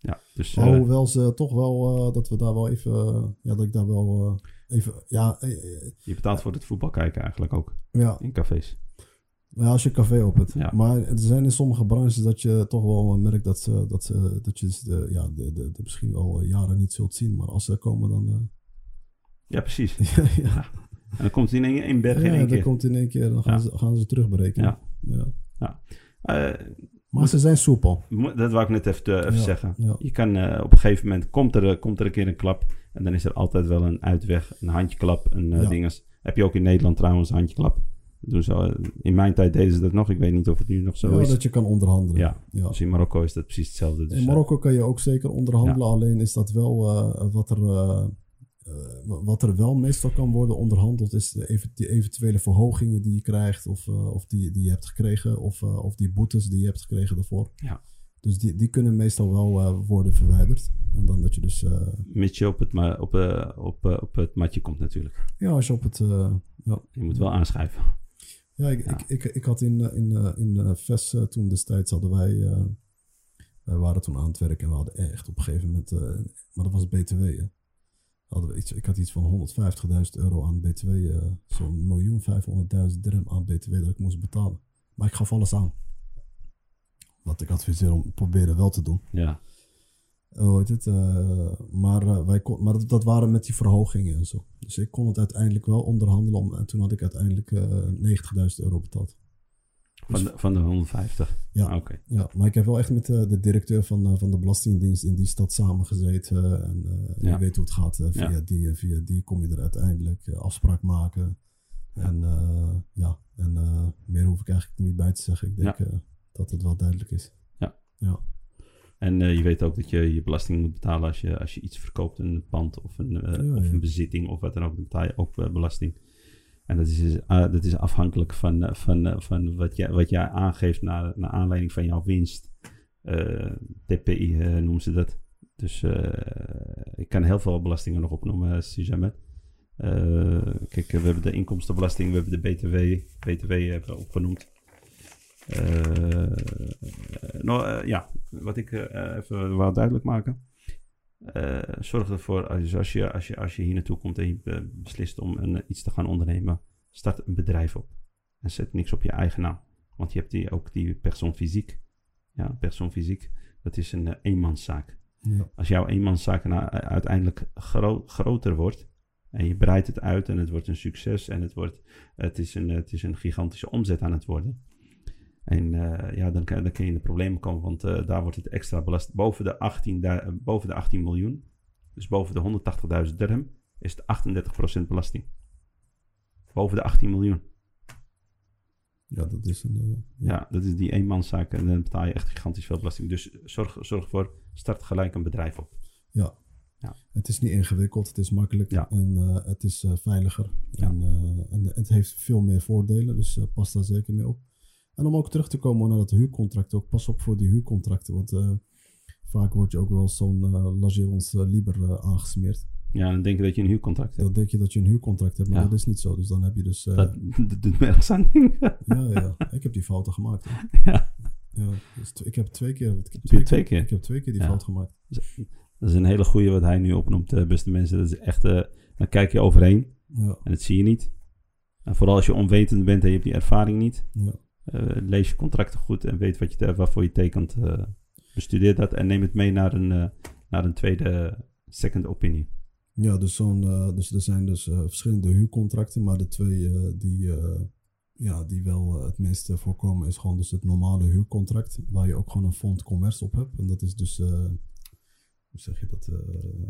Speaker 2: Ja, dus, eh,
Speaker 1: Alhoewel ze toch wel, eh, dat we daar wel even, eh, ja, dat ik daar wel eh, even, ja, eh, eh,
Speaker 2: je betaalt voor het voetbal kijken eigenlijk ook.
Speaker 1: ja,
Speaker 2: In cafés.
Speaker 1: Ja, als je een café opent.
Speaker 2: Ja.
Speaker 1: Maar er zijn in sommige branches dat je toch wel eh, merkt dat, ze, dat, ze, dat je dus de, ja, de, de, de misschien al jaren niet zult zien. Maar als ze komen, dan. eh,
Speaker 2: Ja, precies.
Speaker 1: ja, ja.
Speaker 2: En dan komt het in één, één berg in
Speaker 1: Ja,
Speaker 2: één
Speaker 1: dat
Speaker 2: keer.
Speaker 1: komt in één keer, dan gaan,
Speaker 2: Ja.
Speaker 1: ze, gaan ze terugberekenen.
Speaker 2: Ja.
Speaker 1: Ja.
Speaker 2: Eh,
Speaker 1: Maar ze zijn soepel.
Speaker 2: mo- dat wou ik net even, eh, even
Speaker 1: Ja,
Speaker 2: zeggen.
Speaker 1: ja.
Speaker 2: Je kan eh, op een gegeven moment, komt er, eh, komt er een keer een klap. En dan is er altijd wel een uitweg, een handjeklap, een eh
Speaker 1: Ja.
Speaker 2: dinges. Heb je ook in Nederland trouwens een handjeklap. Dat Doen ze, al- eh, in mijn tijd deden ze dat nog. Ik weet niet of het nu nog zo
Speaker 1: Ja,
Speaker 2: is.
Speaker 1: dat je kan onderhandelen.
Speaker 2: Ja,
Speaker 1: Ja.
Speaker 2: dus in Marokko is dat precies hetzelfde. Dus,
Speaker 1: in
Speaker 2: eh,
Speaker 1: Marokko kan je ook zeker onderhandelen, alleen is dat wel eh, wat er. eh, eh, wa- wat er wel meestal kan worden onderhandeld, is de even, die eventuele verhogingen die je krijgt, of, eh, of die, die je hebt gekregen, of, eh, of die boetes die je hebt gekregen daarvoor.
Speaker 2: Ja.
Speaker 1: Dus die, die kunnen meestal wel eh, worden verwijderd. En dan dat je dus. eh,
Speaker 2: mits je op het, ma- op, eh, op, eh, op het matje komt natuurlijk.
Speaker 1: ja, als je op het. eh,
Speaker 2: Je moet wel aanschuiven.
Speaker 1: Ja, ik,
Speaker 2: Ja.
Speaker 1: Ik, ik, ik had in, eh, in, eh, in eh, VES eh, toen destijds hadden wij. eh, wij waren toen aan het werk en we hadden echt op een gegeven moment. eh, maar dat was BTW. Hè. Hadden we iets, ik had iets van 150.000 euro aan BTW. eh, Zo'n miljoen 500.000 dirham aan BTW dat ik moest betalen. Maar ik gaf alles aan. Wat ik adviseer om proberen wel te doen.
Speaker 2: Ja,
Speaker 1: Eh, Hoe heet het? eh, maar eh, wij kon, maar dat, dat waren met die verhogingen en zo. Dus ik kon het uiteindelijk wel onderhandelen. Om, en toen had ik uiteindelijk eh 90.000 euro betaald.
Speaker 2: van de, van de 150.
Speaker 1: Ja.
Speaker 2: Oké.
Speaker 1: Ja, maar ik heb wel echt met eh, de directeur van, eh, van de Belastingdienst in die stad samengezeten. eh, en eh,
Speaker 2: Ja.
Speaker 1: je weet hoe het gaat. eh, via
Speaker 2: Ja.
Speaker 1: die en via die kom je er uiteindelijk eh, afspraak maken. En eh, ja, en eh, meer hoef ik eigenlijk niet bij te zeggen. Ik denk eh, dat het wel duidelijk is.
Speaker 2: En eh, je weet ook dat je je belasting moet betalen als je, als je iets verkoopt, een pand of een, eh,
Speaker 1: Ja,
Speaker 2: of
Speaker 1: ja.
Speaker 2: een bezitting of wat dan ook, dan betaal je ook eh, belasting. En dat is, is, ah, dat is afhankelijk van, eh, van, eh, van wat, jij, wat jij aangeeft naar, naar aanleiding van jouw winst. Eh, TPI eh, noemen ze dat. Dus eh, ik kan heel veel belastingen nog opnoemen, Sijamet. Eh kijk, eh, we hebben de inkomstenbelasting, we hebben de BTW, BTW hebben we opgenoemd. Eh, nou eh, ja, wat ik eh, even wou duidelijk maken. Eh, zorg ervoor, als, als, je, als, je, als je hier naartoe komt en je eh, beslist om een, eh, iets te gaan ondernemen, start een bedrijf op. En zet niks op je eigen naam. Want je hebt die, ook die persoon fysiek. Ja, persoon fysiek, dat is een eh, eenmanszaak
Speaker 1: Ja,
Speaker 2: als jouw eenmanszaak na- uiteindelijk gro- groter wordt en je breidt het uit en het wordt een succes en het, wordt, het, is, een, het is een gigantische omzet aan het worden. En eh, ja, dan, kan- dan kun je in de problemen komen, want eh, daar wordt het extra belast. Boven de 18, du- eh, boven de 18 miljoen, dus boven de 180.000 dirham, is het 38% belasting. Boven de 18 miljoen.
Speaker 1: Ja, dat is een... eh, ja.
Speaker 2: Ja, dat is die eenmanszaak en dan betaal je echt gigantisch veel belasting. Dus zorg, zorg voor, start gelijk een bedrijf op.
Speaker 1: Het is niet ingewikkeld, het is makkelijk
Speaker 2: Ja.
Speaker 1: en eh, het is eh, veiliger.
Speaker 2: Ja.
Speaker 1: En, eh, en het heeft veel meer voordelen, dus eh, pas daar zeker mee op. En om ook terug te komen naar dat huurcontract, ook pas op voor die huurcontracten. Want eh, vaak wordt je ook wel zo'n eh Lagerons eh, Liber eh, aangesmeerd.
Speaker 2: Ja, dan denk je dat je een huurcontract hebt.
Speaker 1: Dan denk je dat je een huurcontract hebt, maar
Speaker 2: Ja.
Speaker 1: dat is niet zo. Dus dan heb je dus... eh,
Speaker 2: Dat, dat doet me ergens aan denken.
Speaker 1: ja, ja, ik heb die fouten gemaakt. hè.
Speaker 2: Ja.
Speaker 1: Ja, dus t- ik heb twee keer... Ik heb
Speaker 2: je twee keer?
Speaker 1: Ik heb twee keer die
Speaker 2: Ja.
Speaker 1: fout gemaakt.
Speaker 2: Dat is een hele goeie wat hij nu opnoemt, eh, beste mensen. Dat is echt, eh, dan kijk je overheen
Speaker 1: Ja,
Speaker 2: en dat zie je niet. En vooral als je onwetend bent en je hebt die ervaring niet.
Speaker 1: ja.
Speaker 2: Eh, lees je contracten goed en weet wat je, te- waarvoor je tekent. eh, bestudeer dat en neem het mee naar een, eh, naar een tweede eh, second opinion.
Speaker 1: Ja, dus, zo'n, eh, dus er zijn dus eh, verschillende huurcontracten, maar de twee eh, die, eh, ja, die wel eh, het meeste voorkomen is gewoon dus het normale huurcontract, waar je ook gewoon een fond commerce op hebt. En dat is dus, eh, hoe zeg je dat? eh,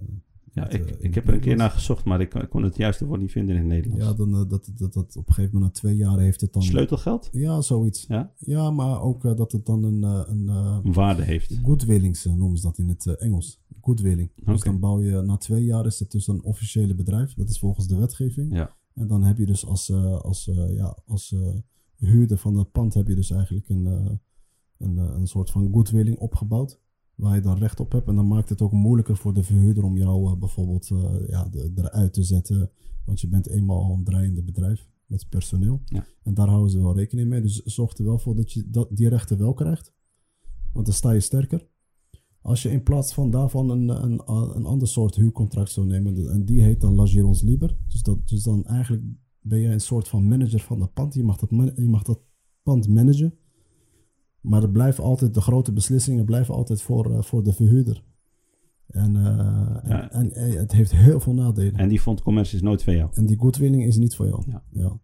Speaker 2: Ja,
Speaker 1: Het, eh,
Speaker 2: ik,
Speaker 1: in het
Speaker 2: ik heb er een keer
Speaker 1: Nederlands.
Speaker 2: naar gezocht, maar ik, ik kon het juiste woord niet vinden in het Nederlands.
Speaker 1: ja, dan, eh, dat, dat, dat op een gegeven moment na twee jaar heeft het dan...
Speaker 2: Sleutelgeld
Speaker 1: Ja, zoiets.
Speaker 2: Ja?
Speaker 1: maar ook eh, dat het dan een, eh, een eh,
Speaker 2: een waarde heeft.
Speaker 1: Goodwillings eh, noemen ze dat in het eh, Engels. Goodwilling. Dus
Speaker 2: Oké.
Speaker 1: dan bouw je na twee jaar is het dus een officiële bedrijf. Dat is volgens de wetgeving.
Speaker 2: Ja.
Speaker 1: En dan heb je dus als, eh, als, eh, ja, als eh, huurder van dat pand heb je dus eigenlijk een, eh, een, eh, een soort van goodwilling opgebouwd. Waar je dan recht op hebt. En dan maakt het ook moeilijker voor de verhuurder om jou eh, bijvoorbeeld eh, ja, de- eruit te zetten. Want je bent eenmaal al een draaiende bedrijf met personeel.
Speaker 2: Ja.
Speaker 1: En daar houden ze wel rekening mee. Dus zorg er wel voor dat je dat, die rechten wel krijgt. Want dan sta je sterker. Als je in plaats van daarvan een, een, een ander soort huurcontract zou nemen, en die heet dan La Girons Liber. Dus, dat, dus dan eigenlijk ben jij een soort van manager van dat pand. Je mag dat, man- je mag dat pand managen. Maar er blijven altijd, de grote beslissingen blijven altijd voor, eh, voor de verhuurder. En, eh, en,
Speaker 2: Ja.
Speaker 1: en, eh, het heeft heel veel nadelen.
Speaker 2: En die vond commerce is nooit van jou.
Speaker 1: En die goodwilling is niet voor jou.
Speaker 2: Ja.
Speaker 1: Ja.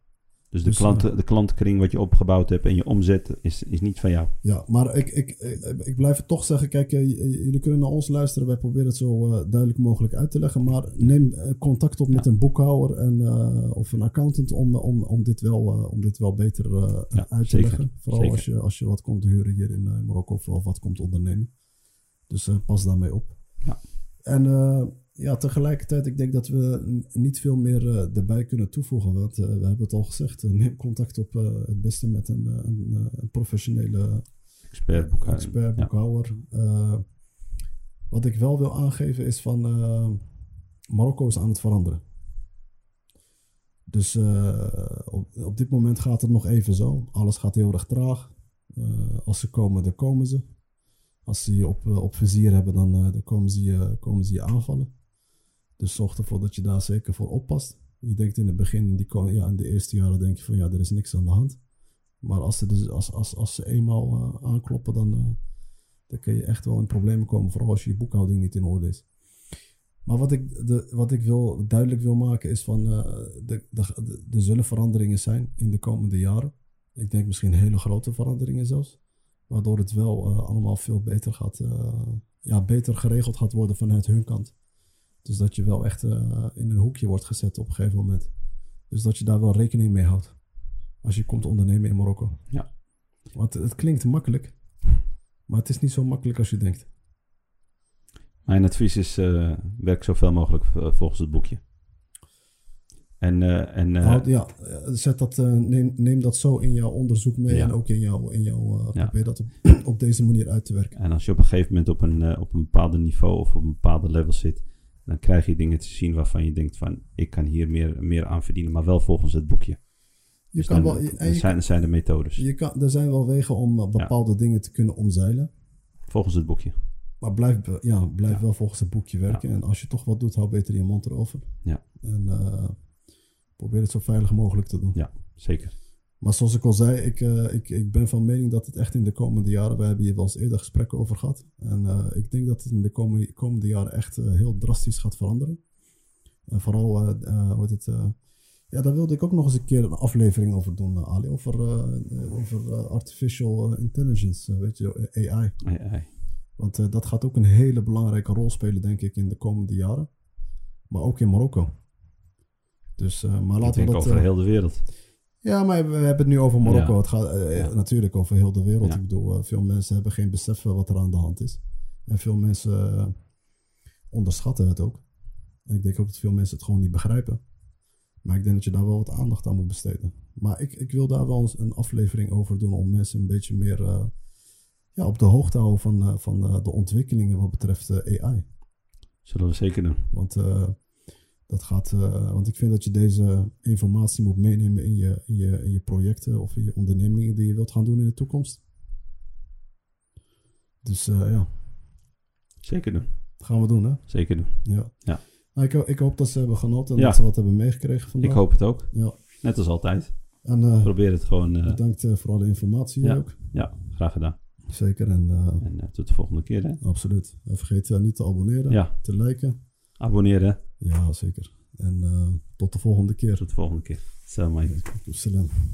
Speaker 2: Dus de,
Speaker 1: Dus,
Speaker 2: klanten, de klantenkring wat je opgebouwd hebt en je omzet is, is niet van jou.
Speaker 1: Ja, maar ik, ik, ik, ik blijf het toch zeggen. Kijk, eh, j- j- jullie kunnen naar ons luisteren. Wij proberen het zo eh, duidelijk mogelijk uit te leggen. Maar neem eh, contact op met een boekhouder en, eh, of een accountant om, om, om, dit, wel, eh, om dit wel beter eh,
Speaker 2: Ja,
Speaker 1: uit te
Speaker 2: zeker,
Speaker 1: leggen. Vooral
Speaker 2: zeker.
Speaker 1: Als, je, als je wat komt huren hier in eh, Marokko of, of wat komt ondernemen. Dus eh, pas daarmee op.
Speaker 2: Ja.
Speaker 1: En eh, ja, tegelijkertijd, ik denk dat we n- niet veel meer eh, erbij kunnen toevoegen. Want eh, we hebben het al gezegd, eh, neem contact op eh, het beste met een, eh, een, eh, een professionele
Speaker 2: Expert boekhouding.
Speaker 1: expert,
Speaker 2: Eh, Ja.
Speaker 1: boekhouwer. Eh, wat ik wel wil aangeven is van eh, Marokko is aan het veranderen. Dus eh, op, op dit moment gaat het nog even zo. Alles gaat heel erg traag. Eh, als ze komen, dan komen ze. Als ze je op, eh, op vizier hebben, dan, eh, dan komen, ze je, komen ze je aanvallen. Dus zorg ervoor dat je daar zeker voor oppast. Je denkt in het begin, in, die, ko- ja, in de eerste jaren denk je van ja, er is niks aan de hand. Maar als ze, dus, als, als, als ze eenmaal eh, aankloppen, dan, eh, dan kun je echt wel in problemen komen. Vooral als je boekhouding niet in orde is. Maar wat ik, de, wat ik wil, duidelijk wil maken is van, eh, de- de- de- er zullen veranderingen zijn in de komende jaren. Ik denk misschien hele grote veranderingen zelfs. Waardoor het wel eh, allemaal veel beter gaat, eh, ja, beter geregeld gaat worden vanuit hun kant. Dus dat je wel echt eh, in een hoekje wordt gezet op een gegeven moment. Dus dat je daar wel rekening mee houdt. Als je komt ondernemen in Marokko.
Speaker 2: Ja.
Speaker 1: Want het klinkt makkelijk. Maar het is niet zo makkelijk als je denkt.
Speaker 2: Mijn advies is, eh, werk zoveel mogelijk eh, volgens het boekje. En, eh, en eh,
Speaker 1: Houd- ja, eh, zet dat, eh, neem, neem dat zo in jouw onderzoek mee.
Speaker 2: Ja.
Speaker 1: En ook in jouw... In jouw eh,
Speaker 2: Ja.
Speaker 1: Probeer dat op, op deze manier uit te werken.
Speaker 2: En als je op een gegeven moment op een, eh, op een bepaalde niveau of op een bepaalde level zit, dan krijg je dingen te zien waarvan je denkt van ik kan hier meer, meer aan verdienen, maar wel volgens het boekje.
Speaker 1: Je
Speaker 2: Dus
Speaker 1: kan
Speaker 2: dan-
Speaker 1: wel... je- en
Speaker 2: dan
Speaker 1: je
Speaker 2: zijn, zijn de methodes.
Speaker 1: Je kan, er zijn wel wegen om eh, bepaalde dingen te kunnen omzeilen.
Speaker 2: Volgens het boekje.
Speaker 1: Maar blijf, be- ja, blijf wel volgens het boekje werken. En als je toch wat doet, hou beter je mond erover.
Speaker 2: Ja.
Speaker 1: En eh, probeer het zo veilig mogelijk te doen.
Speaker 2: Ja, zeker.
Speaker 1: Maar zoals ik al zei, ik, eh, ik, ik ben van mening dat het echt in de komende jaren... We hebben hier wel eens eerder gesprekken over gehad. En eh, ik denk dat het in de komende, komende jaren echt eh, heel drastisch gaat veranderen. En vooral, eh eh, hoe heet het... eh, ja, daar wilde ik ook nog eens een keer een aflevering over doen, eh, Ali. Over, eh, eh, over eh, artificial eh, intelligence, eh, weet je, eh, AI.
Speaker 2: Ei, ei.
Speaker 1: Want eh, dat gaat ook een hele belangrijke rol spelen, denk ik, in de komende jaren. Maar ook in Marokko. Dus, eh, maar
Speaker 2: Ik
Speaker 1: laten
Speaker 2: denk
Speaker 1: we dat...
Speaker 2: over
Speaker 1: eh,
Speaker 2: heel de wereld.
Speaker 1: Ja, maar we hebben het nu over Marokko.
Speaker 2: Ja.
Speaker 1: Het gaat eh, natuurlijk over heel de wereld.
Speaker 2: Ja.
Speaker 1: Ik bedoel, eh, veel mensen hebben geen besef van wat er aan de hand is. En veel mensen eh, onderschatten het ook. En ik denk ook dat veel mensen het gewoon niet begrijpen. Maar ik denk dat je daar wel wat aandacht aan moet besteden. Maar ik, ik wil daar wel eens een aflevering over doen om mensen een beetje meer eh, ja, op de hoogte te houden van, eh, van eh, de ontwikkelingen wat betreft eh, AI.
Speaker 2: Zullen we zeker doen.
Speaker 1: Want, eh, dat gaat, eh, want ik vind dat je deze informatie moet meenemen in je, in, je, in je projecten of in je ondernemingen die je wilt gaan doen in de toekomst. Dus eh, ja,
Speaker 2: Zeker doen.
Speaker 1: dat gaan we doen, hè?
Speaker 2: Zeker doen.
Speaker 1: Ja.
Speaker 2: Ja.
Speaker 1: Nou, ik, ho- ik hoop dat ze hebben genoten en
Speaker 2: Ja.
Speaker 1: dat ze wat hebben meegekregen vandaag.
Speaker 2: Ik hoop het ook.
Speaker 1: Ja.
Speaker 2: Net als altijd.
Speaker 1: En eh,
Speaker 2: Probeer het gewoon. eh,
Speaker 1: bedankt eh, voor alle informatie
Speaker 2: Ja.
Speaker 1: ook.
Speaker 2: ja, graag gedaan.
Speaker 1: Zeker. En eh,
Speaker 2: En eh, tot de volgende keer. Hè?
Speaker 1: absoluut. En vergeet eh, niet te abonneren,
Speaker 2: Ja,
Speaker 1: te liken.
Speaker 2: abonneren. hè.
Speaker 1: Ja, zeker. En eh, tot de volgende keer.
Speaker 2: Tot de volgende keer. Salam alaikum.
Speaker 1: Salam.